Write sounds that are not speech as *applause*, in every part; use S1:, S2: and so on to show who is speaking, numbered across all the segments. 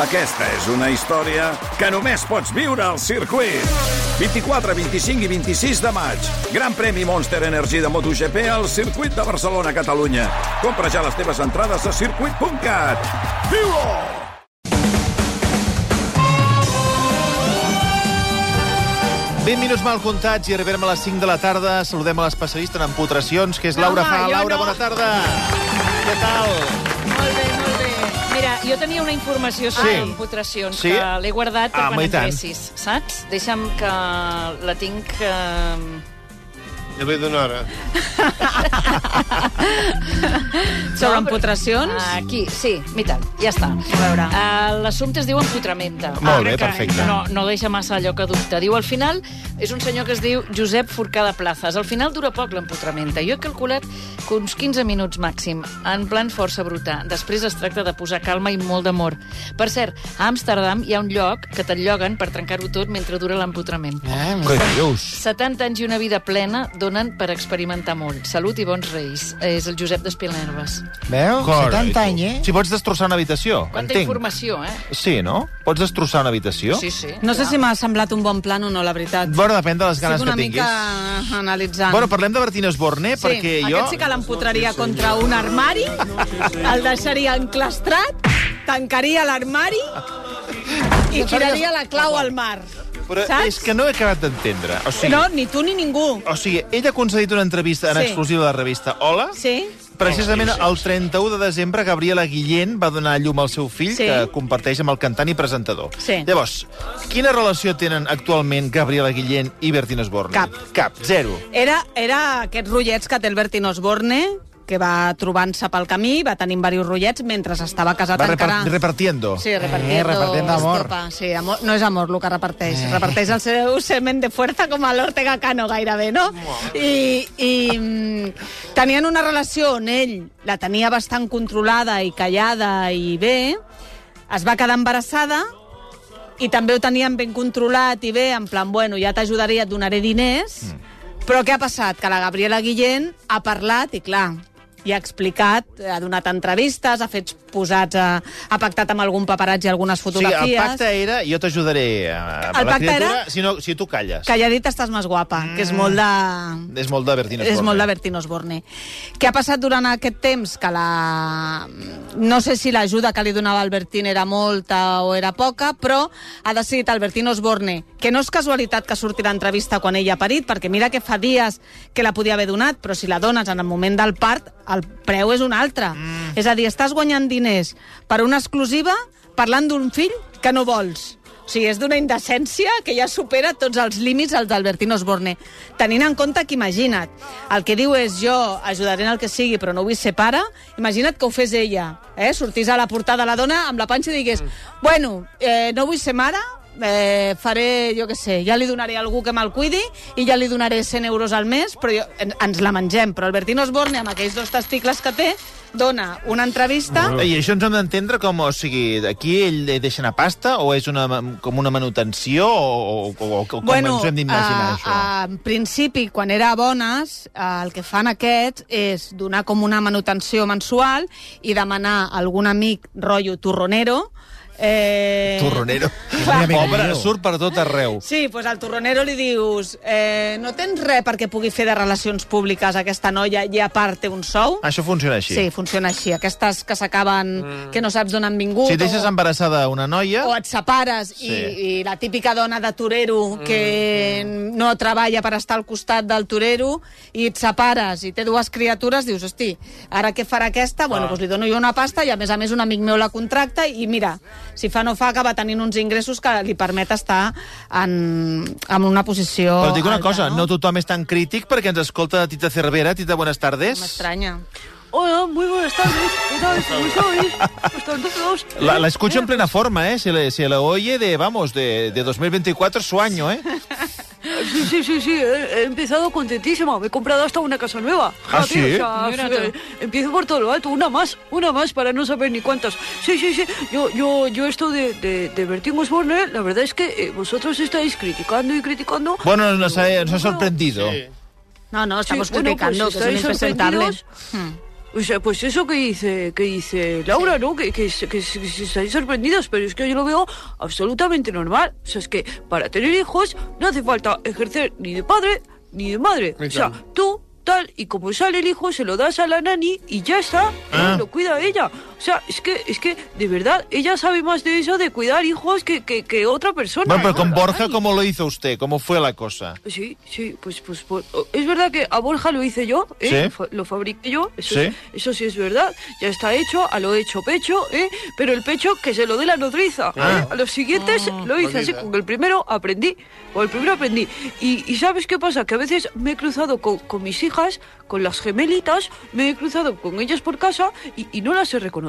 S1: Aquesta és una història que només pots viure al circuit. 24, 25 i 26 de maig. Gran premi Monster Energy de MotoGP al circuit de Barcelona, Catalunya. Compra ja les teves entrades a circuit.cat. viu -ho!
S2: Ben minuts mal comptats i arribarem a les 5 de la tarda. Saludem a l'especialista en empotracions, que és
S3: No,
S2: Laura
S3: home,
S2: Fa.
S3: jo
S2: Laura,
S3: no.
S2: bona tarda. Què tal?
S3: Molt bé, molt bé. Mira, jo tenia una informació sobre
S2: Sí.
S3: empotracions
S2: Sí?
S3: que l'he guardat per
S2: Ah, home,
S3: quan
S2: i tant.
S3: entressis, saps? Deixa'm que la tinc... Eh,
S4: Jo ve d'una hora.
S3: sobre empotracions? Aquí, sí, i tant, ja està.
S5: A veure.
S3: Uh, L'assumpte es diu empotramenta.
S2: Molt bé,
S3: Crec que
S2: perfecte.
S3: No, no deixa massa allò que dubta. Diu, al final, és un senyor que es diu Josep Forcada Plazas. Al final dura poc l'empotramenta. Jo he calculat que uns 15 minuts màxim, en plan força brutar. Després es tracta de posar calma i molt d'amor. Per cert, a Amsterdam hi ha un lloc que t'enlloguen per trencar-ho tot mentre dura l'empotrament.
S2: Eh, Què dius?
S3: 70 anys i una vida plena donen per experimentar molt. Salut i bons reis. És el Josep d'Espielnerves.
S6: Veu?
S2: Carai,
S6: 70
S2: tu.
S6: anys, eh?
S2: Si pots destrossar una habitació,
S3: Quanta
S2: entenc.
S3: informació, eh?
S2: Sí, no? Pots destrossar una habitació?
S3: Sí, sí.
S5: No sé si m'ha semblat un bon plan o no, la veritat.
S2: Bueno, depèn de les ganes
S5: Estic una
S2: que
S5: mica
S2: tinguis.
S5: analitzant.
S2: Bueno, parlem de Bertino Esborne,
S5: sí,
S2: perquè jo...
S5: Aquest sí que l'empotraria contra un armari, el deixaria enclastrat, tancaria l'armari i tiraria la clau al mar.
S2: Però
S5: saps?
S2: és que no he acabat d'entendre. O sigui,
S5: No, ni tu ni ningú.
S2: o sigui, ella ha concedit una entrevista en
S5: Sí.
S2: exclusiva a la revista Hola,
S5: Oh, Sí?
S2: Precisament el 31 de desembre, Gabriela Guillén va donar a llum al seu fill,
S5: Sí.
S2: que comparteix amb el cantant i presentador.
S5: Sí.
S2: Llavors, quina relació tenen actualment Gabriela Guillén i Bertín Osborne?
S5: Cap.
S2: Cap, zero.
S5: Era, era aquests rotllets que té el Bertín Osborne, que va trobant-se pel camí, va tenint diversos rotllets mentre estava casat
S2: Va
S5: encara...
S2: repart repartiendo.
S5: Sí,
S6: Eh,
S5: repartiendo,
S6: repartiendo amor.
S5: estopa. Sí, amor. No és amor el que reparteix. Eh. Reparteix el seu *laughs* semen de fuerza com a l'Ortega Cano gairebé, no? I, i mm, tenien una relació on ell la tenia bastant controlada i callada i bé. Es va quedar embarassada i també ho tenien ben controlat i bé, en plan, bueno, ja t'ajudaré, et donaré diners. Mm. Però què ha passat? Que la Gabriela Guillén ha parlat i, clar, i ha explicat, ha donat entrevistes, ha fet posats, ha, ha pactat amb algun paparazzi algunes
S2: O sigui,
S5: fotografies...
S2: el pacte era jo t'ajudaré a
S5: El
S2: la
S5: pacte
S2: criatura
S5: era-
S2: si, no, si tu calles.
S5: Calladita estàs més guapa, mm. que és molt de...
S2: És molt de Bertín Osborne.
S5: És molt de Bertín Osborne. Què ha passat durant aquest temps? Que la... No sé si l'ajuda que li donava el Bertín era molta o era poca, però ha decidit el Bertín Osborne, que no és casualitat que surti l'entrevista quan ella ha parit, perquè mira que fa dies que la podia haver donat, però si la dones en el moment del part, el preu és un altre. Mm. És a dir, estàs guanyant diners per una exclusiva parlant d'un fill que no vols. O sigui, és d'una indecència que ja supera tots els límits als d'Albertino Osborne. Tenint en compte que, imagina't, el que diu és jo ajudaré en el que sigui, però no vull ser pare, imagina't que ho fes ella, eh? sortís a la portada la dona amb la panxa i digués bueno, eh, no vull ser mare, eh, faré, jo què sé, ja li donaré a algú que me'l cuidi i ja li donaré 100 euros al mes, però jo, en, ens la mengem. Però Albertino Osborne, amb aquells dos testicles que té, dona una entrevista...
S2: I això ens hem d'entendre com, o sigui, aquí ell li deixa anar pasta o és una, com una manutenció o, o, o, o com ens ho hem d'imaginar,
S5: eh,
S2: això?
S5: eh, en principi, quan era a bones, eh, el que fan aquests és donar com una manutenció mensual i demanar a algun amic rotllo torronero... Eh...
S2: Torronero.
S5: Clar.
S2: Pobre, surt per tot arreu.
S5: Sí, doncs al torronero li dius eh, no tens res perquè pugui fer de relacions públiques aquesta noia i a part té un sou?
S2: Això funciona així.
S5: Sí, funciona així. Aquestes que s'acaben, mm. que no saps d'on han vingut...
S2: Si deixes
S5: o-
S2: embarassada una noia...
S5: o et separes sí.
S2: Sí. Mm,
S5: i, i la típica dona de torero que no treballa per estar al costat del torero i et separes i té dues criatures, dius, hosti, ara què farà aquesta?
S2: Ah.
S5: Bueno, doncs li dono jo una pasta i a més a més un amic meu la contracta i mira, si fa no fa acaba tenint uns ingressos que li permet estar en, en una posició
S2: Però et dic una
S5: alta,
S2: cosa, no?
S5: no
S2: tothom és tan crític perquè ens escolta Tita Cervera. Tita, buenas tardes.
S5: M'estranya.
S7: Hola, muy buenas tardes. ¿Qué tal? ¿Cómo estáis? ¿Están todos?
S2: La, la escucho en plena forma, ¿eh? Se le, se le oye de, vamos, de, de 2024 es su año, ¿eh?
S7: Sí, sí, sí, sí. He he empezado contentísima. Me he comprado hasta una casa nueva.
S2: ¿Ah, sí?
S7: o sea,
S3: Mira
S7: eh,
S3: tú.
S7: empiezo por todo lo alto. Una más, una más para no saber ni cuántas. Sí, sí, sí. Yo, yo, yo esto de, de, de Bertín Osborne, la verdad es que eh, vosotros estáis criticando y criticando.
S2: Bueno, nos ha, nos ha sorprendido.
S5: No, no, estamos
S7: bueno, pues
S5: criticando, que es un
S7: estáis
S5: impresentable.
S7: sorprendidos. O sea, pues eso que dice, que dice Laura, ¿no? Que, que, que, que se- que se estáis sorprendidos, pero es que yo lo veo absolutamente normal. O sea, es que para tener hijos no hace falta ejercer ni de padre ni de madre. O sea,
S4: Exacto.
S7: tú, tal, y como sale el hijo, se lo das a la nani y ya está,
S2: Ah.
S7: ¿no? lo cuida ella. O sea, es que, es que, de verdad, ella sabe más de eso de cuidar hijos que, que, que otra persona.
S2: Bueno, pero
S7: ¿no?
S2: con
S7: La
S2: Borja,
S7: nani.
S2: ¿cómo lo hizo usted? ¿Cómo fue la cosa?
S7: Sí, sí, pues, pues, pues, oh, es verdad que a Borja lo hice yo, ¿eh?
S2: Sí.
S7: Lo fa- lo fabriqué yo, eso,
S2: Sí.
S7: es- eso sí es verdad, ya está hecho, a lo hecho pecho, ¿eh? pero el pecho que se lo dé la nodriza, ¿eh?
S2: Ah.
S7: a los siguientes lo hice así,
S4: bonita.
S7: con el primero aprendí, con el primero aprendí, y, y ¿sabes qué pasa? Que a veces me he cruzado con, con mis hijas, con las gemelitas, me he cruzado con ellas por casa y, y no las
S2: *laughs*
S7: he reconocido,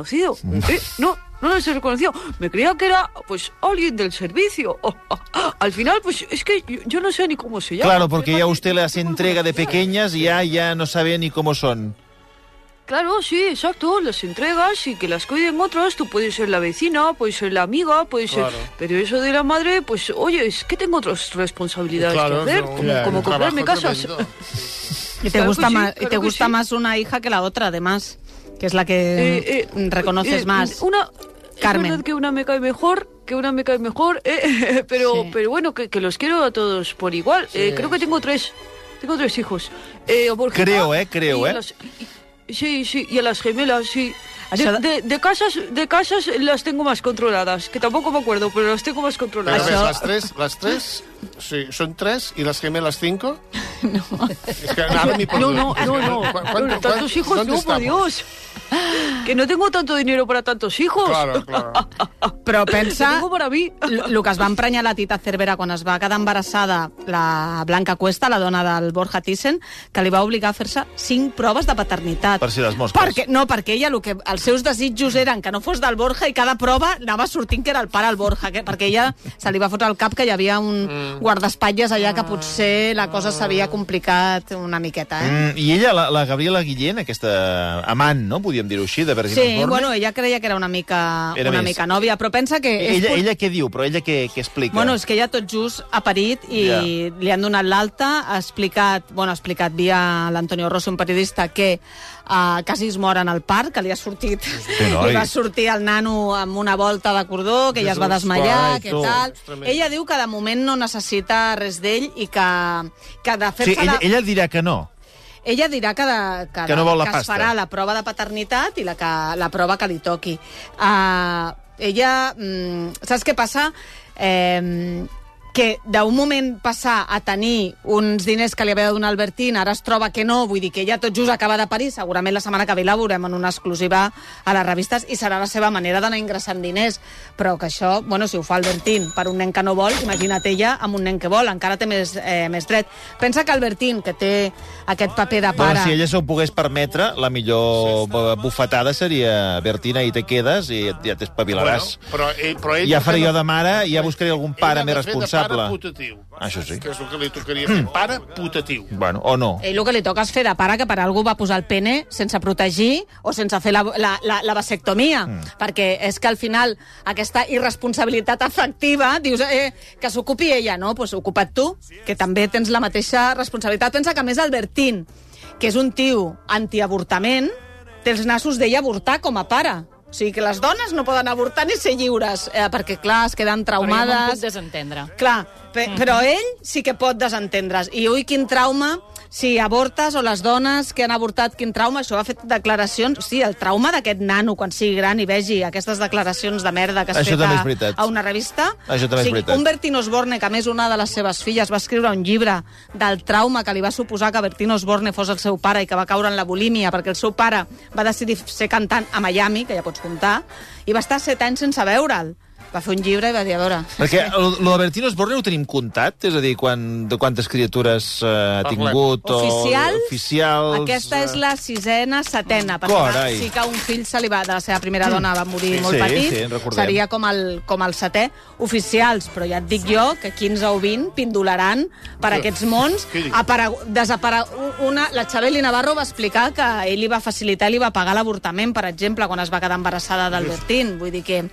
S7: ¿eh? no, no las he reconocido. Me creía que era, pues, alguien del servicio. *laughs* Oh, oh, ah, Al final, pues, es que yo, yo no sé ni cómo se llama.
S2: Claro, porque ya usted las entrega de pequeñas y ya, ya no sabe ni cómo son.
S7: Claro, sí, exacto, las entregas y que las cuiden otros. Tú puedes ser la vecina, puedes ser la amiga, puedes ser...
S4: Claro.
S7: Pero eso de la madre, pues, oye, es que tengo otras responsabilidades
S4: Claro,
S7: que hacer,
S4: no,
S7: como,
S4: claro,
S7: como
S4: un
S7: comprarme
S4: trabajo
S7: casas.
S4: tremendo.
S5: Y te
S7: Claro que
S5: gusta,
S7: sí,
S5: más, y
S7: claro
S5: te
S7: que
S5: gusta
S7: sí.
S5: más una hija que la otra, además, que es la
S7: Eh,
S5: que
S7: eh,
S5: mm, reconoces
S7: eh,
S5: más.
S7: Una,
S5: Carmen.
S7: Es verdad que una me cae mejor, que una me cae mejor, eh, *laughs* pero,
S5: Sí.
S7: pero bueno, que, que los quiero a todos por igual. Eh, creo que tengo tres, tengo tres hijos. Eh, a Borja
S2: Creo, eh, creo,
S7: y a
S2: eh.
S7: las- y- sí, sí, y a las gemelas, sí.
S5: Això
S7: De,
S5: de-
S7: de, de casas de casas las tengo más controladas, que tampoco me acuerdo, pero las tengo más
S4: Pero
S7: controladas.
S4: ves,
S5: Això-
S4: les tres, les tres, sí, són tres i les gemeles
S7: *laughs*
S4: cinco? No. És que ara m'hi
S7: No,
S4: perdo.
S7: no,
S4: És
S7: no,
S4: que-
S7: Ah, no.
S4: ¿cuán-
S7: Bueno,
S4: cuánto-
S7: tantos
S4: cuán-
S7: hijos,
S4: ¿dónde
S7: no, por
S4: estamos?
S7: Dios. Que no tengo tanto dinero para tantos hijos. *laughs*
S4: Claro, claro.
S5: Però
S7: Lo
S5: pensa
S7: tengo para mí.
S5: el que es va emprenyar la Tita Cervera quan es va quedar embarassada la Blanca Cuesta, la dona del Borja Thyssen, que li va obligar a fer-se cinc proves de paternitat.
S2: Per si les mosques.
S5: Perquè, no, perquè ella, el que, els seus desitjos eren que no fos del Borja i cada prova anava sortint que era el pare del Borja, que, perquè ella se li va fotre al cap que hi havia un guardaespatlles allà que potser la cosa s'havia complicat una miqueta, eh?
S2: Mm, I ella, la, la Gabriela Guillén, aquesta amant, no?, podíem dir-ho així, de Virgin
S5: Sí,
S2: Osborne.
S5: bueno, ella creia que era una mica,
S2: Era
S5: una
S2: més.
S5: mica nòvia, però pensa que... és
S2: ella,
S5: pot-
S2: ella què diu? Però ella què, què explica?
S5: Bueno, és que ella tot just ha parit i
S2: Ja.
S5: li han donat l'alta, ha explicat, bueno, ha explicat via l'Antonio Rossi, un periodista, que eh, quasi es mor en el parc, que li ha sortit...
S2: noi.
S5: *laughs* li va sortir el nano amb una volta de cordó, que ella es va
S4: Jesús,
S5: desmaiar,
S2: ai,
S5: que
S2: tu.
S5: tal...
S4: És tremendo.
S5: Ella diu que de moment no necessita res d'ell i que, que de
S2: sí,
S5: fer-se
S2: ella,
S5: la...
S2: ella dirà que no.
S5: Ella dirà que, de, que,
S2: Que no vol la
S5: que
S2: pasta.
S5: es farà la prova de paternitat i la, que, la prova que li toqui. Uh, ella, mm, saps què passa? Eh, que d'un moment passar a tenir uns diners que li havia de donar Albertín, ara es troba que no, vull dir que ella tot just acaba de parir, segurament la setmana que ve la veurem en una exclusiva a les revistes i serà la seva manera d'anar ingressant diners, però que això, bueno, si ho fa Albertín per un nen que no vol, imagina't ella amb un nen que vol, encara té més, eh, més dret. Pensa que Albertín, que té aquest paper de
S2: Bueno,
S5: pare...
S2: si ella s'ho pogués permetre, la millor eh, bufetada seria Bertina, i te quedes i ja t'espavilaràs.
S4: Bueno, però, ell, però ell...
S2: ja faré jo de mare i ja buscaré algun pare més
S4: Ell ha
S2: responsable.
S4: de fer de pare putatiu.
S2: Això sí.
S4: Que és el que li tocaria fer. Pare putatiu.
S2: Bueno, o no.
S5: Ell el que li toca és fer de pare, que per algú va posar el pene sense protegir o sense fer la, la, la, la vasectomia. Mm. Perquè és que al final aquesta irresponsabilitat afectiva, dius eh, que s'ocupi ella, no? Doncs pues, ocupa't tu, que també tens la mateixa responsabilitat. Pensa que a més Albertín, que és un tio antiavortament, té els nassos d'ell avortar com a pare. O sigui, que les dones no poden avortar ni ser lliures, eh, perquè, clar, es queden
S3: Però jo me'n
S5: traumades...
S3: puc desentendre.
S5: Clar, pe però ell sí que pot desentendre's. I ui, quin trauma si avortes o les dones que han avortat, quin trauma, això ha fet declaracions... Sí, el trauma d'aquest nano quan sigui gran i vegi aquestes declaracions de merda que has
S2: Això
S5: fet
S2: també és
S5: a,
S2: veritat.
S5: a una revista.
S2: Això també és
S5: o sigui,
S2: veritat.
S5: Un Bertín Osborne, que a més una de les seves filles va escriure un llibre del trauma que li va suposar que Bertín Osborne fos el seu pare i que va caure en la bulímia perquè el seu pare va decidir ser cantant a Miami, que ja pots comptar, i va estar set anys sense veure'l. Va fer un llibre i va dir, a veure,
S2: Perquè el, el de Bertino Osborne ho tenim comptat? És a dir, quan, de quantes criatures eh, ha tingut?
S5: Oficials,
S2: O, oficials
S5: Aquesta és la sisena, setena, perquè
S2: eh, Carai.
S5: Carai. sí que un fill se li va, de la seva primera dona va morir
S2: Sí,
S5: molt
S2: sí,
S5: petit,
S2: sí, en recordem.
S5: seria com el, com el setè. Oficials, però ja et dic jo que 15 o 20 pindolaran per aquests mons.
S4: Què dius?
S5: Aparegu... Desaparegu... Una... La Xabeli Navarro va explicar que ell li va facilitar, li va pagar l'avortament, per exemple, quan es va quedar embarassada d'Albertín. Vull dir que,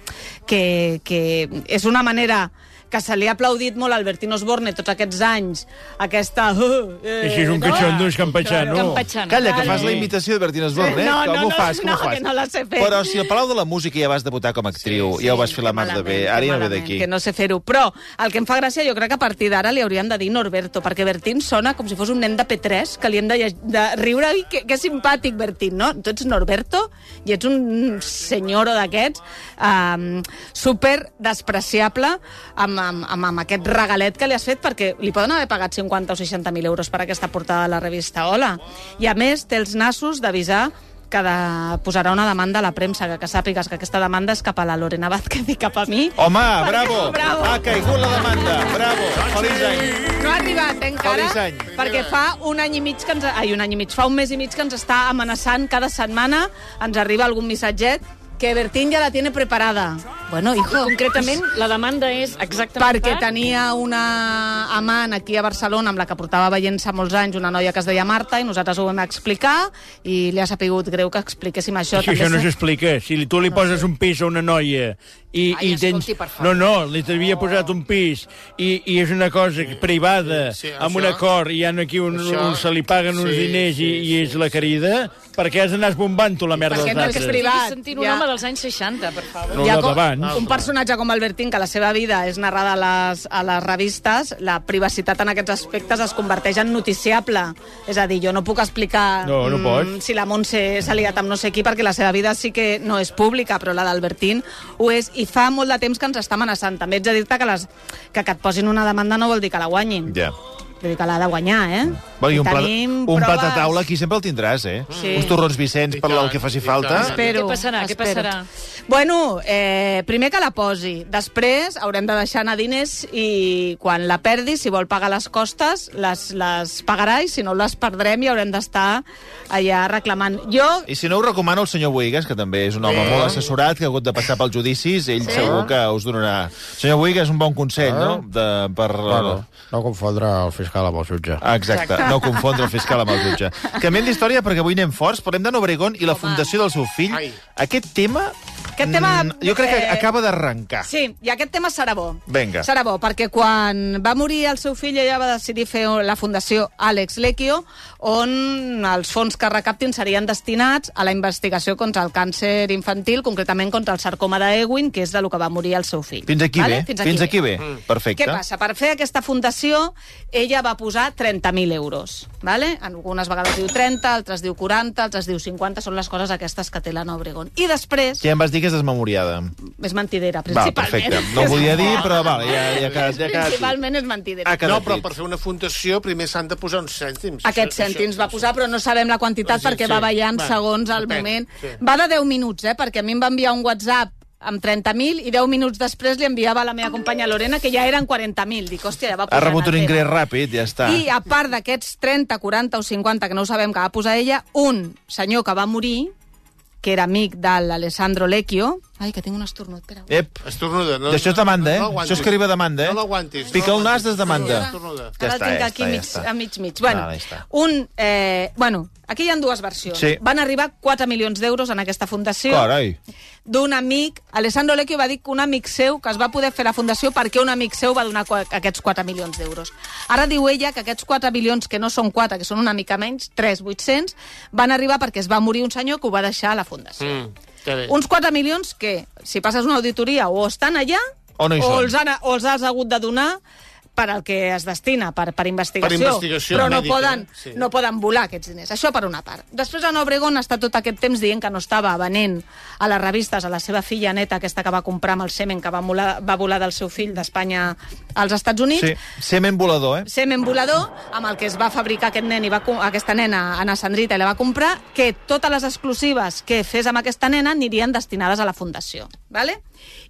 S5: que, que és una manera que se li ha aplaudit molt a Albertín Osborne tots aquests anys, aquesta... Uh, eh,
S6: Això és un cachondo, és campechano.
S3: Campechano.
S2: Calla, que fas
S6: Sí.
S2: la imitació de Bertina Osborne, eh?
S5: No,
S2: com
S5: no,
S2: ho
S5: no,
S2: fas, com
S5: no,
S2: ho fas?
S5: que no la sé fer.
S2: Però si al Palau de la Música ja vas debutar com a actriu, ja ho vas fer la mar de bé,
S5: Malament,
S2: ara ja no ve
S5: malament,
S2: d'aquí.
S5: Que no sé fer-ho. Però el que em fa gràcia, jo crec que a partir d'ara li hauríem de dir Norberto, perquè Bertín sona com si fos un nen de P3, que li hem de, lle- de riure. I que, que simpàtic, Bertín, no? Tu ets Norberto i ets un senyoro d'aquests, um, super despreciable, amb, amb, amb, amb aquest regalet que li has fet, perquè li poden haver pagat 50 o 60.000 euros per aquesta portada de la revista Hola. I a més, té els nassos d'avisar que de... posarà una demanda a la premsa, que, que sàpigues que aquesta demanda és cap a la Lorena Vázquez i cap a mi.
S2: Home, bravo! Ah,
S5: Bravo.
S2: Ha caigut la demanda, bravo! Feliç any!
S5: No ha arribat eh, encara,
S2: Feliç any.
S5: perquè fa un any i mig que ens... Ai, un any i mig, fa un mes i mig que ens està amenaçant cada setmana, ens arriba algun missatget que Bertín ja la tiene preparada. Bueno, hijo,
S3: Concretament, la demanda és exactament...
S5: perquè
S3: per-
S5: tenia una amant aquí a Barcelona amb la que portava veient-se molts anys, una noia que es deia Marta, i nosaltres ho vam explicar, i li ha sapigut greu que expliquéssim això.
S6: Això, això no s'explica. Si li- tu li poses un pis a una noia i,
S3: Ai,
S6: i tens...
S3: escolti, per favor.
S6: No, no, li t'havia posat un pis i, i és una cosa privada,
S4: sí, sí,
S6: amb
S4: això-
S6: un acord, i ja no aquí on,
S4: això-
S6: on se li paguen uns
S4: sí,
S6: diners i,
S4: sí,
S6: i és la querida, perquè has d'anar esbombant tu la merda
S5: Perquè
S6: dels
S5: no és
S6: altres.
S5: privat.
S3: Estic sentint un
S5: Ja.
S3: home dels anys 60, per favor.
S6: No,
S5: Hi ha Ah,
S6: la
S5: com-
S6: d'abans.
S2: Ah.
S5: Un personatge com Albertín, que la seva vida és narrada a les, a les revistes, la privacitat en aquests aspectes es converteix en noticiable. És a dir, jo no puc explicar
S6: No, no
S5: mm,
S6: pots.
S5: si la Montse s'ha liat amb no sé qui, perquè la seva vida sí que no és pública, però la d'Albertín ho és, i fa molt de temps que ens està amenaçant. També ets de dir-te que, les, que, que et posin una demanda no vol dir que la guanyin.
S2: Ja.
S5: Vull dir que l'ha de guanyar, eh?
S2: Bueno, i un, plat,
S5: tenim
S2: un plat de
S5: proves.
S2: taula aquí sempre el tindràs, eh?
S5: Sí.
S2: Uns torrons Vicenç
S4: I
S2: per el
S4: tant,
S2: que faci
S4: i
S2: falta.
S4: tant.
S5: Espero,
S3: Doncs Què passarà? Què
S5: espero.
S3: passarà?
S5: Bueno, eh, primer que la posi. Després haurem de deixar anar diners i quan la perdi, si vol pagar les costes, les, les pagarà i si no les perdrem i haurem d'estar allà reclamant. Jo...
S2: I si no, us recomano el senyor Buigas, que també és un home molt assessorat, que ha hagut de passar pels judicis, ell segur que us donarà... Senyor Buigas, un bon consell, no? De, per...
S8: Bueno, no confondre el fiscal amb el jutge.
S2: Ah, Exacte, no confondre el fiscal amb el jutge. Canviem d'història perquè avui anem forts. Parlem de Obregón i la fundació del seu fill.
S4: Ai.
S2: Aquest tema...
S5: Aquest tema,
S2: mm, jo crec que
S5: eh,
S2: acaba d'arrencar.
S5: Sí, i aquest tema serà bo.
S2: Vinga.
S5: Serà bo, perquè quan va morir el seu fill ella va decidir fer la fundació Àlex Lecchio, on els fons que recaptin serien destinats a la investigació contra el càncer infantil, concretament contra el sarcoma d'Ewin, que és de lo que va morir el seu fill.
S2: Fins aquí
S5: vale?
S2: bé. Fins aquí bé. Perfecte.
S5: Mm. Què passa? Per fer aquesta fundació, ella va posar 30.000 euros. Vale? En Algunes vegades diu 30, altres diu 40, altres diu 50, són les coses aquestes que té l'Anna Obregón. I després,
S2: Ja em vas dir que és desmemoriada.
S5: és mentidera,
S2: Va,
S5: principalment.
S2: perfecte. No ho volia dir, però va, ja, ja ha quedat... Ja ha quedat dit.
S5: Principalment és mentidera.
S2: Ha quedat
S4: No, però
S2: dit.
S4: per fer una fundació primer s'han de posar uns cèntims.
S5: Aquests
S4: Això-
S5: cèntims
S4: això-
S5: va posar, però no sabem la quantitat
S4: Sí,
S5: perquè
S4: sí.
S5: va ballant
S4: Va,
S5: segons el
S4: depèn,
S5: moment.
S4: sí.
S5: Va de 10 minuts, eh? Perquè a mi em va enviar un WhatsApp amb 30.000 i 10 minuts després li enviava a la meva companya Lorena, que ja eren 40.000. Dic, hòstia, ja va
S2: Ha
S5: posant
S2: rebut
S5: el
S2: un
S5: tema.
S2: ingrés ràpid, ja està.
S5: I a part d'aquests 30, 40 o 50 que no ho sabem que va posar ella, un senyor que va morir, que era amic de l'Alessandro Lecchio... Ai, que tinc un estornut, espera.
S2: Ep,
S4: Estornuda. No,
S2: D'això és demanda, eh?
S4: aguantis.
S2: Això és que arriba demanda, eh?
S4: No l'aguantis.
S2: Pica
S4: no
S2: el nas,
S4: l'aguantis.
S2: és demanda.
S4: Estornuda.
S2: Ja està,
S5: Ara el tinc
S2: ja
S5: aquí
S2: està, ja
S5: mig,
S2: està.
S5: a mig, mig. Bueno,
S2: Ara està.
S5: un, eh, bueno, aquí hi ha dues versions.
S2: Sí.
S5: Van arribar 4 milions d'euros en aquesta fundació
S2: Carai.
S5: d'un amic. Alessandro Lecchio va dir que un amic seu que es va poder fer la fundació perquè un amic seu va donar qua- aquests 4 milions d'euros. Ara diu ella que aquests 4 milions, que no són 4, que són una mica menys, 3.800, van arribar perquè es va morir un senyor que ho va deixar a la fundació.
S4: Mm, que bé.
S5: Uns 4 milions que, si passes una auditoria, o estan allà
S2: O no hi
S5: o,
S2: són.
S5: els han, o els has hagut de donar per al que es destina, per, per investigació.
S4: Per investigació
S5: però no
S4: mèdica,
S5: poden,
S4: sí.
S5: no poden volar aquests diners. Això per una part. Després en Obregón està tot aquest temps dient que no estava venent a les revistes a la seva filla neta, aquesta que va comprar amb el semen que va, volar, va volar del seu fill d'Espanya als Estats Units.
S2: Sí, semen volador, eh?
S5: Semen volador, amb el que es va fabricar aquest nen i va, co- aquesta nena, Anna Sandrita, i la va comprar, que totes les exclusives que fes amb aquesta nena anirien destinades a la Fundació. Vale?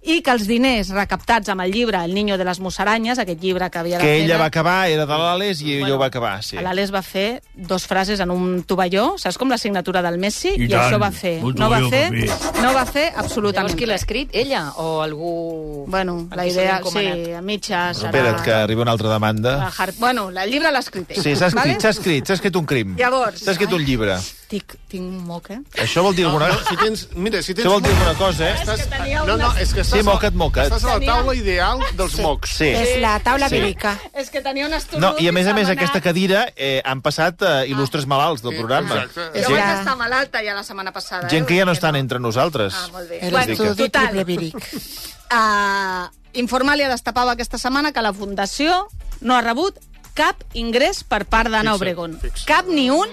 S5: I que els diners recaptats amb el llibre El niño de les musaranyes, aquest llibre que havia de
S2: Que
S5: fer...
S2: ella va acabar, era de l'Ales i ella ho va acabar, sí.
S5: Sí. L'Ales va fer dos frases en un tovalló, saps com la signatura del Messi?
S6: I
S5: I,
S6: tant,
S5: això va fer.
S6: un
S5: No va
S6: tovalló
S5: fer,
S6: per
S5: no va fer
S3: Llavors,
S5: absolutament
S3: qui l'ha
S5: res.
S3: escrit? Ella o algú...
S5: Bueno,
S3: a
S5: la
S3: qui se li ha
S5: idea,
S3: encomanat?
S5: sí, a mitja serà...
S2: Espera't, que arriba una altra demanda.
S5: Har- Bueno, el llibre l'ha escrit ell.
S2: Sí, s'ha escrit,
S5: vale?
S2: s'ha escrit, s'ha escrit un crim.
S5: Llavors-
S2: S'ha escrit un llibre.
S5: Tic, tinc moca.
S2: Això vol dir alguna
S4: Ah, No,
S2: cosa?
S4: si tens, mira, si tens...
S2: Això vol dir alguna cosa, eh?
S4: Estàs,
S5: tenia
S4: no, no, és que estàs,
S2: Sí,
S4: a-
S2: moca't, moca't.
S4: estàs a la taula ideal dels mocs.
S2: Sí.
S9: És la taula
S2: Sí.
S9: bíblica.
S5: És que tenia un estornut
S2: No, i a més a més,
S5: s'ha
S2: aquesta
S5: manat.
S2: cadira eh, han passat
S5: Ah.
S2: eh, il·lustres malalts del
S4: Sí,
S2: programa.
S4: exacte.
S9: És
S5: Jo vaig
S9: la-
S5: estar malalta ja la setmana passada.
S2: Gent
S5: eh?
S2: que ja no
S5: Vull dir
S2: estan entre nosaltres.
S5: Ah, molt bé.
S9: El
S5: Bueno,
S9: estudi
S5: total.
S9: triple víric.
S5: *laughs* Uh, Informalia destapava aquesta setmana que la Fundació no ha rebut cap ingrés per part d'Anna
S4: Fixa't,
S5: Obregón.
S4: fixa't.
S5: Cap ni un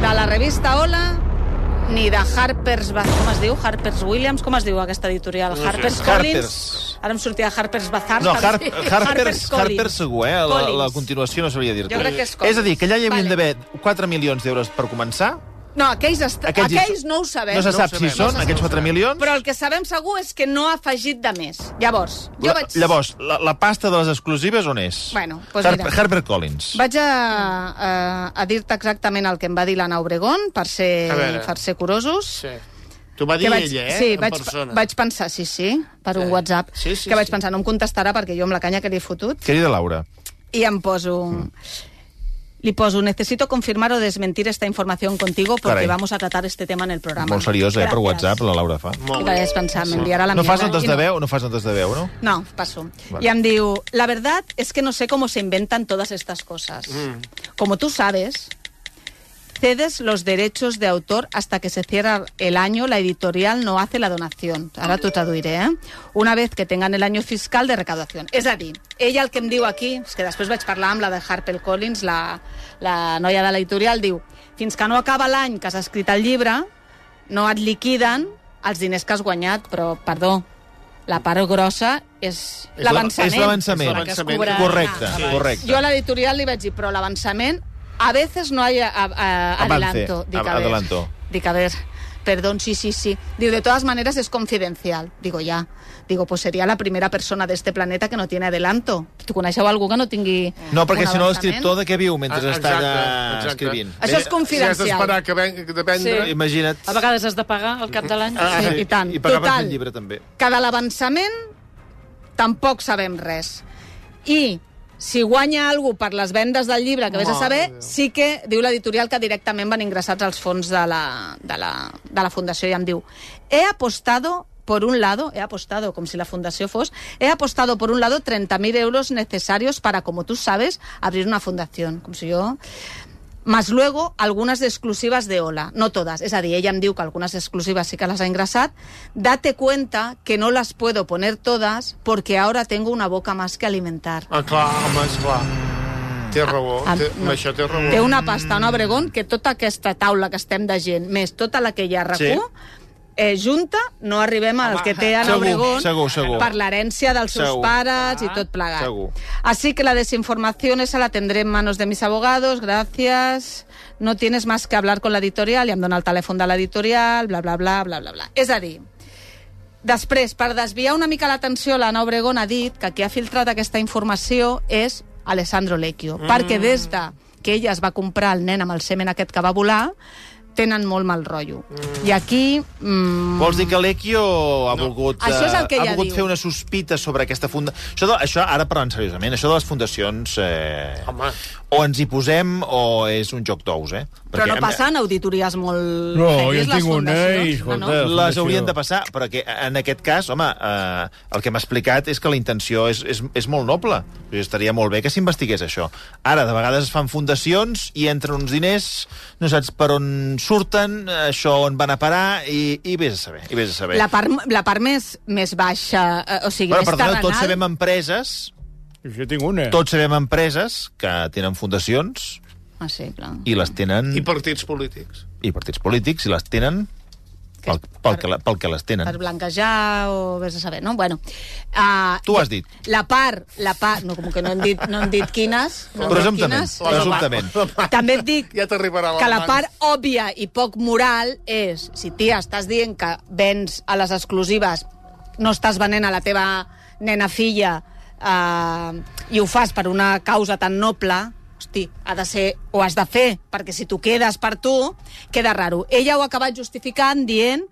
S5: de la revista Hola ni de Harper's... Ba- Com es diu? Harper's Williams? Com es diu aquesta editorial? Harper's Collins?
S2: Harper's.
S5: Ara em sortia Harper's Bazaar.
S2: No, Har
S5: també.
S2: Harper's, Harper's segur, eh? La,
S5: Collins.
S2: la continuació no sabria dir-te.
S5: Jo crec que és Collins.
S2: És a dir, que allà hi havien
S5: Vale.
S2: d'haver 4 milions d'euros per començar.
S5: No, aquells, est...
S2: Aquells hi-
S5: aquells, no ho sabem.
S2: No se sap si
S4: sabem, no
S2: són,
S4: se
S2: aquests 4 milions.
S5: Però el que sabem segur és que no ha afegit de més. Llavors, jo
S2: La-
S5: vaig...
S2: Llavors, la, la pasta de les exclusives on és?
S5: Bueno, doncs
S2: Harper,
S5: mira.
S2: Harper Collins.
S5: Vaig a, a, a dir-te exactament el que em va dir l'Anna Obregón, per ser,
S4: A veure.
S5: per ser curosos.
S4: Sí. T'ho va dir
S5: Que vaig,
S4: ella, eh?
S5: sí,
S4: en
S5: vaig,
S4: persona.
S5: vaig pensar, sí, sí, per un
S4: Sí.
S5: WhatsApp,
S4: Sí, sí,
S5: que vaig
S4: sí.
S5: pensar, no em contestarà perquè jo amb la canya que li he fotut,
S2: Querida Laura,
S5: i em poso... Li poso, necesito confirmar o desmentir esta información contigo porque
S2: Carai.
S5: vamos a tratar este tema en el programa.
S2: molt seriosa, eh, per
S5: Gràcies.
S2: WhatsApp, la Laura fa.
S5: I
S4: Molt bé.
S5: vaig pensar, m'enviarà la
S2: No fas
S5: mierda
S2: notes
S5: i
S2: de
S5: no.
S2: veu, no fas notes de veu, no?
S5: No, paso.
S2: Vale.
S5: Y em diu, la verdad es que no sé cómo se inventan todas estas cosas. Como tú sabes, cedes los derechos de autor hasta que se cierra el año, la editorial no hace la donación. Ahora tú traduiré, ¿eh? Una vez que tengan el año fiscal de recaudación. És a dir, ella el que em diu aquí, és que després vaig parlar amb la de Harper Collins, la, la noia de l'editorial, diu, fins que no acaba l'any que has escrit el llibre, no et liquiden els diners que has guanyat, però, perdó, la part grossa és
S4: És la-
S5: l'avançament.
S2: és l'avançament.
S5: eh? La que es
S4: L'avançament.
S5: cobrarà.
S2: Correcte,
S4: Sí.
S2: correcte.
S5: Jo a l'editorial li vaig dir, però l'avançament a veces no hay a, a, a-
S2: Avance,
S5: adelanto. Dic,
S2: a-
S5: a ver,
S2: adelanto.
S5: Dic, a ver, perdón, sí, sí, sí. Digo, de todas maneras es confidencial. Digo, ya. Digo, pues sería la primera persona de este planeta que no tiene adelanto. Tu coneixeu algú que no tingui
S2: No, perquè
S5: un
S2: si no
S5: avançament?
S2: l'escriptor de què viu mentre
S4: Ah,
S2: està allà
S4: exacte, exacte.
S2: escrivint?
S5: Això és
S4: Si has
S5: confidencial.
S4: d'esperar que ven, de vendre...
S2: Eh, Imagina't.
S3: A vegades has de pagar al cap de l'any.
S4: Ah,
S5: Sí,
S4: sí.
S5: I tant.
S2: I pagaves
S5: Total,
S2: el llibre, també.
S5: que de l'avançament tampoc sabem res. I si guanya algú per les vendes del llibre, que vés a saber, sí que diu l'editorial que directament van ingressats als fons de la, de la, de la fundació i em diu he apostado por un lado, he apostado, como si la fundación fuese, he apostado por un lado 30.000 euros necesarios para, como tú sabes, abrir una fundación. Como si yo más luego algunas de exclusivas de Ola, no todas, es a dir, ella em diu que algunas exclusivas sí que las ha ingresat, date cuenta que no las puedo poner todas porque ahora tengo una boca más que alimentar.
S4: Ah, clar, home, esclar. Té raó,
S5: Ah,
S4: té,
S5: no.
S4: amb això té raó.
S5: Té una pasta, una Obregón, que tota aquesta taula que estem de gent, més tota la que hi ha a RAC1, sí. eh, junta, no arribem al que té Ana
S2: segur,
S5: Obregón
S2: segur, segur.
S5: per l'herència dels seus
S2: Segur.
S5: pares i tot plegat.
S2: Segur.
S5: Así que la desinformación esa la tendré en manos de mis abogados, gracias. No tienes más que hablar con la editorial i em dona el telèfon de l'editorial, bla, bla, bla, bla, bla, bla. És a dir, Després, per desviar una mica l'atenció, l'Anna Obregón ha dit que qui ha filtrat aquesta informació és Alessandro Lecchio, mm. perquè des de que ella es va comprar el nen amb el semen aquest que va volar, tenen molt mal rotllo. Mm. I aquí... Mm,
S2: Vols dir que l'Equio ha volgut,
S5: Això és el
S2: eh,
S5: que
S2: ha
S5: ella
S2: volgut
S5: diu.
S2: fer una sospita sobre aquesta funda... Això, de, això ara parlant seriosament, això de les fundacions... Eh,
S4: Home.
S2: O ens hi posem o és un joc d'ous, eh?
S5: però no
S2: em-
S5: passen auditories molt...
S6: No,
S5: serioses,
S6: jo
S5: les
S6: tinc una,
S5: fundacions.
S6: i, escolta,
S5: Ah, no?
S2: les
S6: Fundació.
S2: haurien de passar, però que eh, en aquest cas, home, eh, el que m'ha explicat és que la intenció és, és, és molt noble. O sigui, estaria molt bé que s'investigués això. Ara, de vegades es fan fundacions i entren uns diners, no saps per on surten, eh, això on van a parar, i, i vés a saber, i vés a saber.
S5: La part, la part més, més baixa, eh, o sigui,
S2: Bueno,
S5: més
S2: perdoneu,
S5: terrenal...
S2: tots sabem empreses,
S6: Jo tinc una.
S2: tots sabem empreses que tenen fundacions
S5: Ah, sí, clar.
S2: i les tenen...
S4: I
S2: I,
S4: partits polítics.
S2: i partits polítics, i les tenen pel, pel, que, la- pel que les
S5: Per
S2: tenen.
S5: blanquejar o vés a saber, no? Bueno, uh,
S2: Tu ho has dit.
S5: La part, la part, no, com que no hem dit, no hem dit quines, no hem dit
S2: Presumptament,
S5: quines.
S2: presumptament.
S5: També et dic
S4: Ja t'arribarà la
S5: que la
S4: mans.
S5: part òbvia i poc moral és, si tia, estàs dient que vens a les exclusives, no estàs venent a la teva nena filla eh, i ho fas per una causa tan noble, hosti, ha de ser, o has de fer, perquè si tu quedes per tu, queda raro. Ella ho ha acabat justificant dient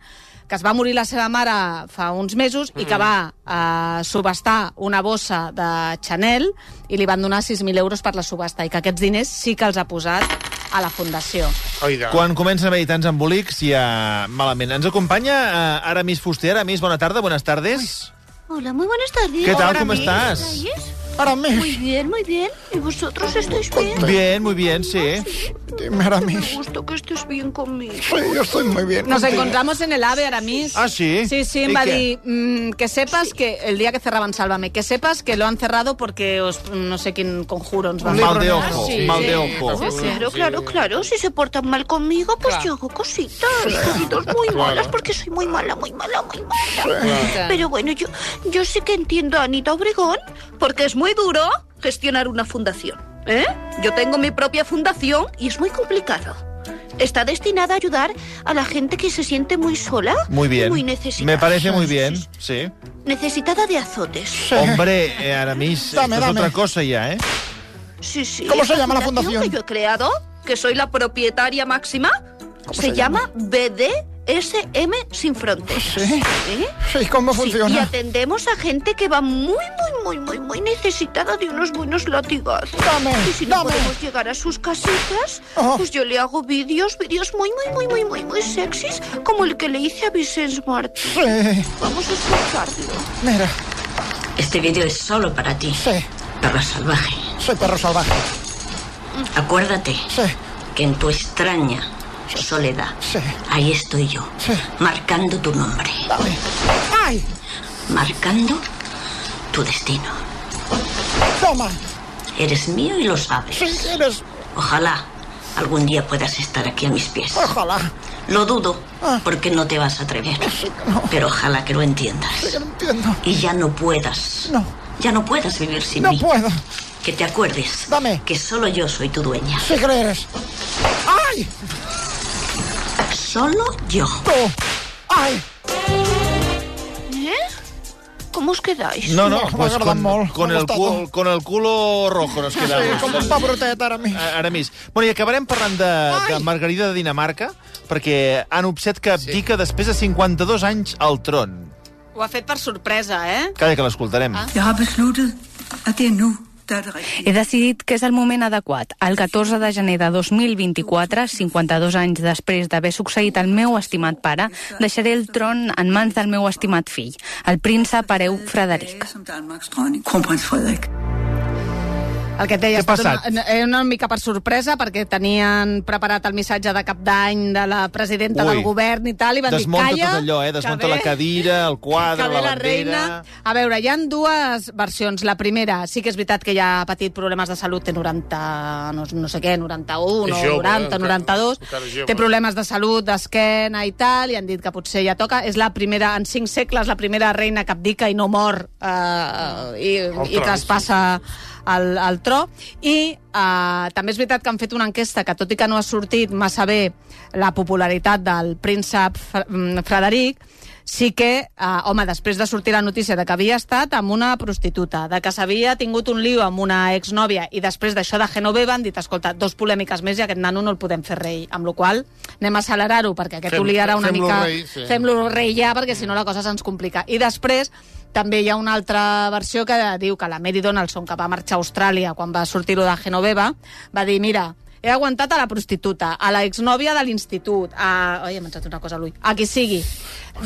S5: que es va morir la seva mare fa uns mesos i que va eh, subestar una bossa de Chanel i li van donar 6.000 euros per la subhasta i que aquests diners sí que els ha posat a la Fundació.
S4: Oiga.
S2: Quan comencen a haver tants embolics, ja malament. Ens acompanya eh, Aramis Fuster. Aramis, bona tarda, buenas tardes.
S9: Hola, muy buenas tardes.
S2: ¿Qué tal? ¿Cómo estás?
S8: Ara més,
S9: Muy bien, muy bien. ¿Y vosotros estáis bien?
S2: Bien, muy bien, sí.
S8: dime ara
S9: Me
S8: més.
S9: gusta que estés bien conmigo.
S8: Sí, yo estoy muy bien.
S5: Nos
S8: contigo.
S5: encontramos en el AVE, Aramis.
S2: Ah, sí?
S5: Sí, sí, em
S2: ¿Y
S5: va
S2: qué?
S5: dir mm, que sepas que el día que cerraban Sálvame, que sepas que lo han cerrado porque os, mm, no sé quién conjuro ens van
S2: Mal de ojo,
S3: Sí,
S2: mal
S3: sí.
S2: de ojo.
S9: Oh, claro, claro, claro. Si se portan mal conmigo, pues yo hago cositas. Cositas muy malas, porque soy muy mala, muy mala, muy mala. Pero bueno, yo, yo sí que entiendo a Anita Obregón.
S7: Porque es muy duro gestionar una fundación. ¿eh? Yo tengo mi propia fundación
S9: Y es muy complicado. Está destinada a ayudar a la gente que se siente muy sola.
S2: Muy bien.
S9: y Muy necesitada.
S2: Me parece muy bien, sí.
S9: Necesitada de azotes.
S2: Hombre, eh, Aramis,
S8: Dame,
S2: esto es
S8: dame.
S2: otra cosa ya, ¿eh?
S9: Sí, sí.
S8: ¿Cómo se llama la
S7: que
S8: fundación?
S7: yo he creado, que soy la propietaria máxima, se, llama BDSM Sin Fronteras.
S8: Sí.
S9: ¿Eh?
S8: Sí, ¿cómo
S9: Sí, y
S8: funciona?
S9: atendemos a gente que va muy, muy, muy, muy, muy necesitada de unos buenos latigazos.
S8: Dame,
S9: y si no
S8: dame.
S9: podemos llegar a sus casitas,
S8: Oh.
S9: pues yo le hago vídeos, vídeos muy, muy, muy, muy, muy, muy sexys, como el que le hice a Vicente Martí.
S8: Sí,
S9: Vamos a escucharlo.
S8: mira,
S10: Este vídeo es solo para ti,
S8: sí,
S10: perro salvaje.
S8: soy perro salvaje.
S10: Acuérdate
S8: Sí,
S10: que en tu extraña soledad,
S8: sí,
S10: ahí estoy yo, marcando tu nombre,
S8: dame. ¡Ay!
S10: marcando tu destino.
S8: ¡Toma!
S10: Eres mío y lo sabes.
S8: Si quieres,
S10: Ojalá algún día puedas estar aquí a mis pies.
S8: ojalá. Ah.
S10: Lo dudo, porque no te vas a atrever. Pero ojalá que lo entiendas.
S8: Que no entiendo.
S10: Y ya no puedas.
S8: No.
S10: Ya no puedas vivir sin
S8: No
S10: mí.
S8: puedo.
S10: Que te acuerdes
S8: Dame.
S10: que solo yo soy tu dueña.
S8: Si crees. ¡Ay!
S10: Solo yo.
S8: Tú. ¡Ay!
S9: ¿Eh? ¿Cómo os quedáis?
S2: No, no,
S8: M'ha
S2: pues
S8: agradat
S2: con,
S8: molt,
S2: con,
S8: m'ha
S2: el
S8: gustat
S2: cul,
S8: molt.
S2: con el culo rojo nos
S8: Sí,
S2: quedamos.
S8: com un pebrotet ara mi.
S2: A- Aramis. Bueno, i acabarem parlant de, de Margarida de Dinamarca, perquè han obset que abdica després de 52 anys al tron.
S5: Ho ha fet per sorpresa, eh?
S2: Calla, que l'escoltarem. Ah.
S10: Jeg har besluttet, at det er nu, der er det rigtige.
S11: He decidit que és el moment adequat. El 14 de gener de 2024, 52 anys després d'haver succeït el meu estimat pare, deixaré el tron en mans del meu estimat fill, el príncep hereu Frederic.
S10: Som Danmarks dronning, kronprins Frederik.
S5: El que et deia,
S2: Què ha passat?
S5: Una, eh, una mica per sorpresa, perquè tenien preparat el missatge de cap d'any de la presidenta
S2: Ui.
S5: del govern i tal, i van
S2: Desmunta
S5: dir, calla...
S2: tot allò, eh?
S5: que
S2: Desmunta
S5: ve-
S2: la cadira, el quadre,
S5: que ve
S2: la bandera...
S5: A veure, hi han dues versions. La primera, sí que és veritat que ja ha patit problemes de salut, té 90, no, no sé què, 91 o
S4: És jove,
S5: 90,
S4: eh, encara-
S5: 92.
S4: encara és jove.
S5: Té problemes de salut, d'esquena i tal, i han dit que potser ja toca. És la primera, en cinc segles, la primera reina capdica i no mor eh, i, i
S4: tron,
S5: traspassa el, el tro. I eh, també és veritat que han fet una enquesta que, tot i que no ha sortit massa bé la popularitat del príncep Fre- mm, Frederic, sí que, eh, home, després de sortir la notícia de que havia estat amb una prostituta, de que s'havia tingut un lío amb una exnòvia i després d'això de Genoveva han dit, escolta, dos polèmiques més i aquest nano no el podem fer rei, amb la qual cosa anem a accelerar-ho perquè aquest
S4: Fem-
S5: oliarà una
S4: fem-lo
S5: mica...
S4: rei, sí.
S5: Fem-lo rei ja perquè si no la cosa se'ns complica. I després també hi ha una altra versió que diu que la Mary Donaldson, que va marxar a Austràlia quan va sortir-ho de Genoveva, va dir, mira, he aguantat a la prostituta, a la exnòvia de l'institut, a... Oi, hem entrat una cosa a l'ull. A qui sigui.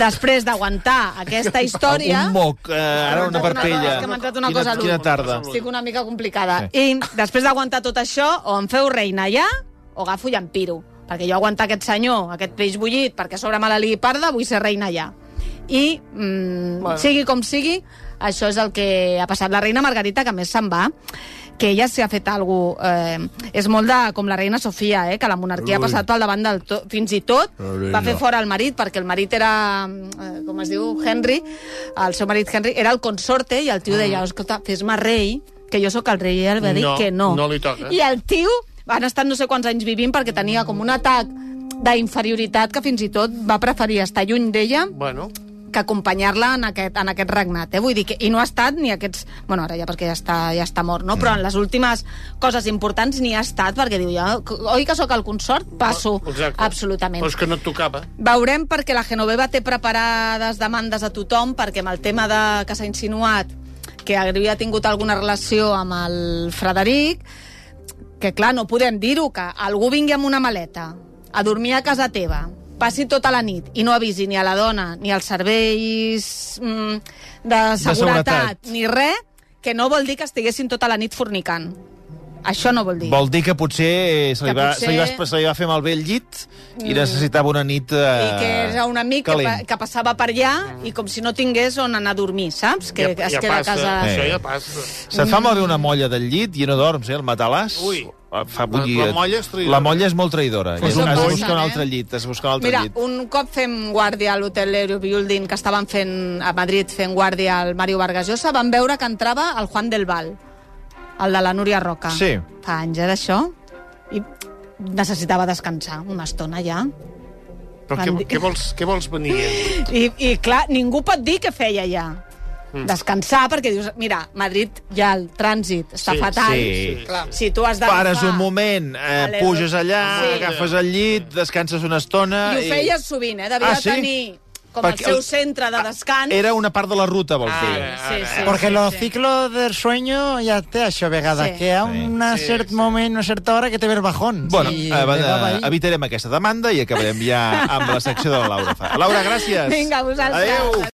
S5: Després d'aguantar aquesta història...
S2: Un moc, eh, ara una parpella.
S5: És que m'ha entrat una
S2: quina,
S5: cosa a l'ull.
S2: Quina tarda.
S5: Estic una mica complicada. Sí. I després d'aguantar tot això, o em feu reina ja, o agafo i em piro. Perquè jo aguantar aquest senyor, aquest peix bullit, perquè a sobre me la li parda, vull ser reina ja. I, mm, bueno. sigui com sigui, això és el que ha passat. La reina Margarita, que a més se'n va, que ella s'hi ha fet alguna cosa... Eh, és molt de, com la reina Sofia, eh, que la monarquia ha passat pel davant del tot. Fins i tot va fer fora el marit, perquè el marit era, eh, com es diu, Henry, el seu marit Henry, era el consorte, i el tio deia, escolta, fes-me rei, que jo sóc el rei, i ell va dir
S4: No,
S5: que no.
S4: no li toca.
S5: I el tio van estar no sé quants anys vivint perquè tenia com un atac d'inferioritat que fins i tot va preferir estar lluny d'ella
S4: Bueno,
S5: que acompanyar-la en, aquest, en aquest regnat. Eh? Vull dir que, I no ha estat ni aquests... Bueno, ara ja perquè ja està, ja està mort, no? Però en les últimes coses importants ni ha estat, perquè diu, ja, oi que sóc el consort? Passo,
S4: exacte.
S5: absolutament.
S4: però és que no et tocava.
S5: Veurem perquè la Genoveva té preparades demandes a tothom perquè amb el tema de que s'ha insinuat que havia tingut alguna relació amb el Frederic que clar, no podem dir-ho, que algú vingui amb una maleta a dormir a casa teva, passi tota la nit i no avisi ni a la dona, ni als serveis mm, de, seguretat,
S2: seguretat.
S5: ni res, que no vol dir que estiguessin tota la nit fornicant. Això no vol dir.
S2: Vol dir que potser eh, se li,
S5: Que
S2: va,
S5: potser- Mm.
S2: se li, va, se li va fer malbé el llit i necessitava una nit... Eh,
S5: I que era un amic que, pa-
S2: calent.
S5: que passava per
S2: Ah.
S5: allà i com si no tingués on anar a dormir, saps? Que es queda a casa...
S2: Eh.
S4: Això ja passa.
S2: Se't
S5: Mm.
S2: fa malbé una molla del llit i no dorms, eh, el matalàs. Ah,
S4: Ui.
S2: Fa bullir.
S4: La- la molla és traïdora.
S2: La molla és molt traïdora.
S4: Fos
S2: Llavors
S4: un
S2: has de
S4: boig.
S2: buscar un altre llit, has de buscar un altre
S5: Mira,
S2: llit.
S5: un cop fem guàrdia a l'hotel Aerobuilding que estaven fent a Madrid fent guàrdia al Mario Vargas Llosa, vam veure que entrava el Juan del Val, el de la Núria Roca.
S2: Sí.
S5: Fa anys era això. I necessitava descansar una estona ja.
S4: Però què, què, vols, què vols venir?
S5: I, i clar, ningú pot dir què feia ja.
S2: Mm.
S5: Descansar, perquè dius, mira, Madrid ja el trànsit està
S2: Sí,
S5: fatal.
S2: sí.
S5: Clar, si tu has d'agafar...
S2: Pares un moment, eh,
S5: Vale, doncs.
S2: puges allà,
S5: sí.
S2: agafes el llit, descanses una estona...
S5: I ho feies sovint, eh? Devia
S2: Ah, sí?
S5: tenir com
S2: Perquè
S5: el seu
S2: el-
S5: centre de descans.
S2: Era una part de la ruta, vol
S4: Ah,
S2: dir.
S4: eh.
S5: sí, sí,
S8: Porque
S5: sí,
S8: los
S5: sí.
S8: ciclos del sueño ya te això a vegades,
S5: Sí.
S8: que a una cert moment, una certa hora que te ve el bajón.
S2: Bueno, eh,
S8: Sí,
S2: sí,
S8: te daba ahí.
S2: evitarem aquesta demanda i acabarem ja amb la secció de la Laura Fa. Laura, gràcies.
S5: Vinga, vosaltres.
S2: Adéu.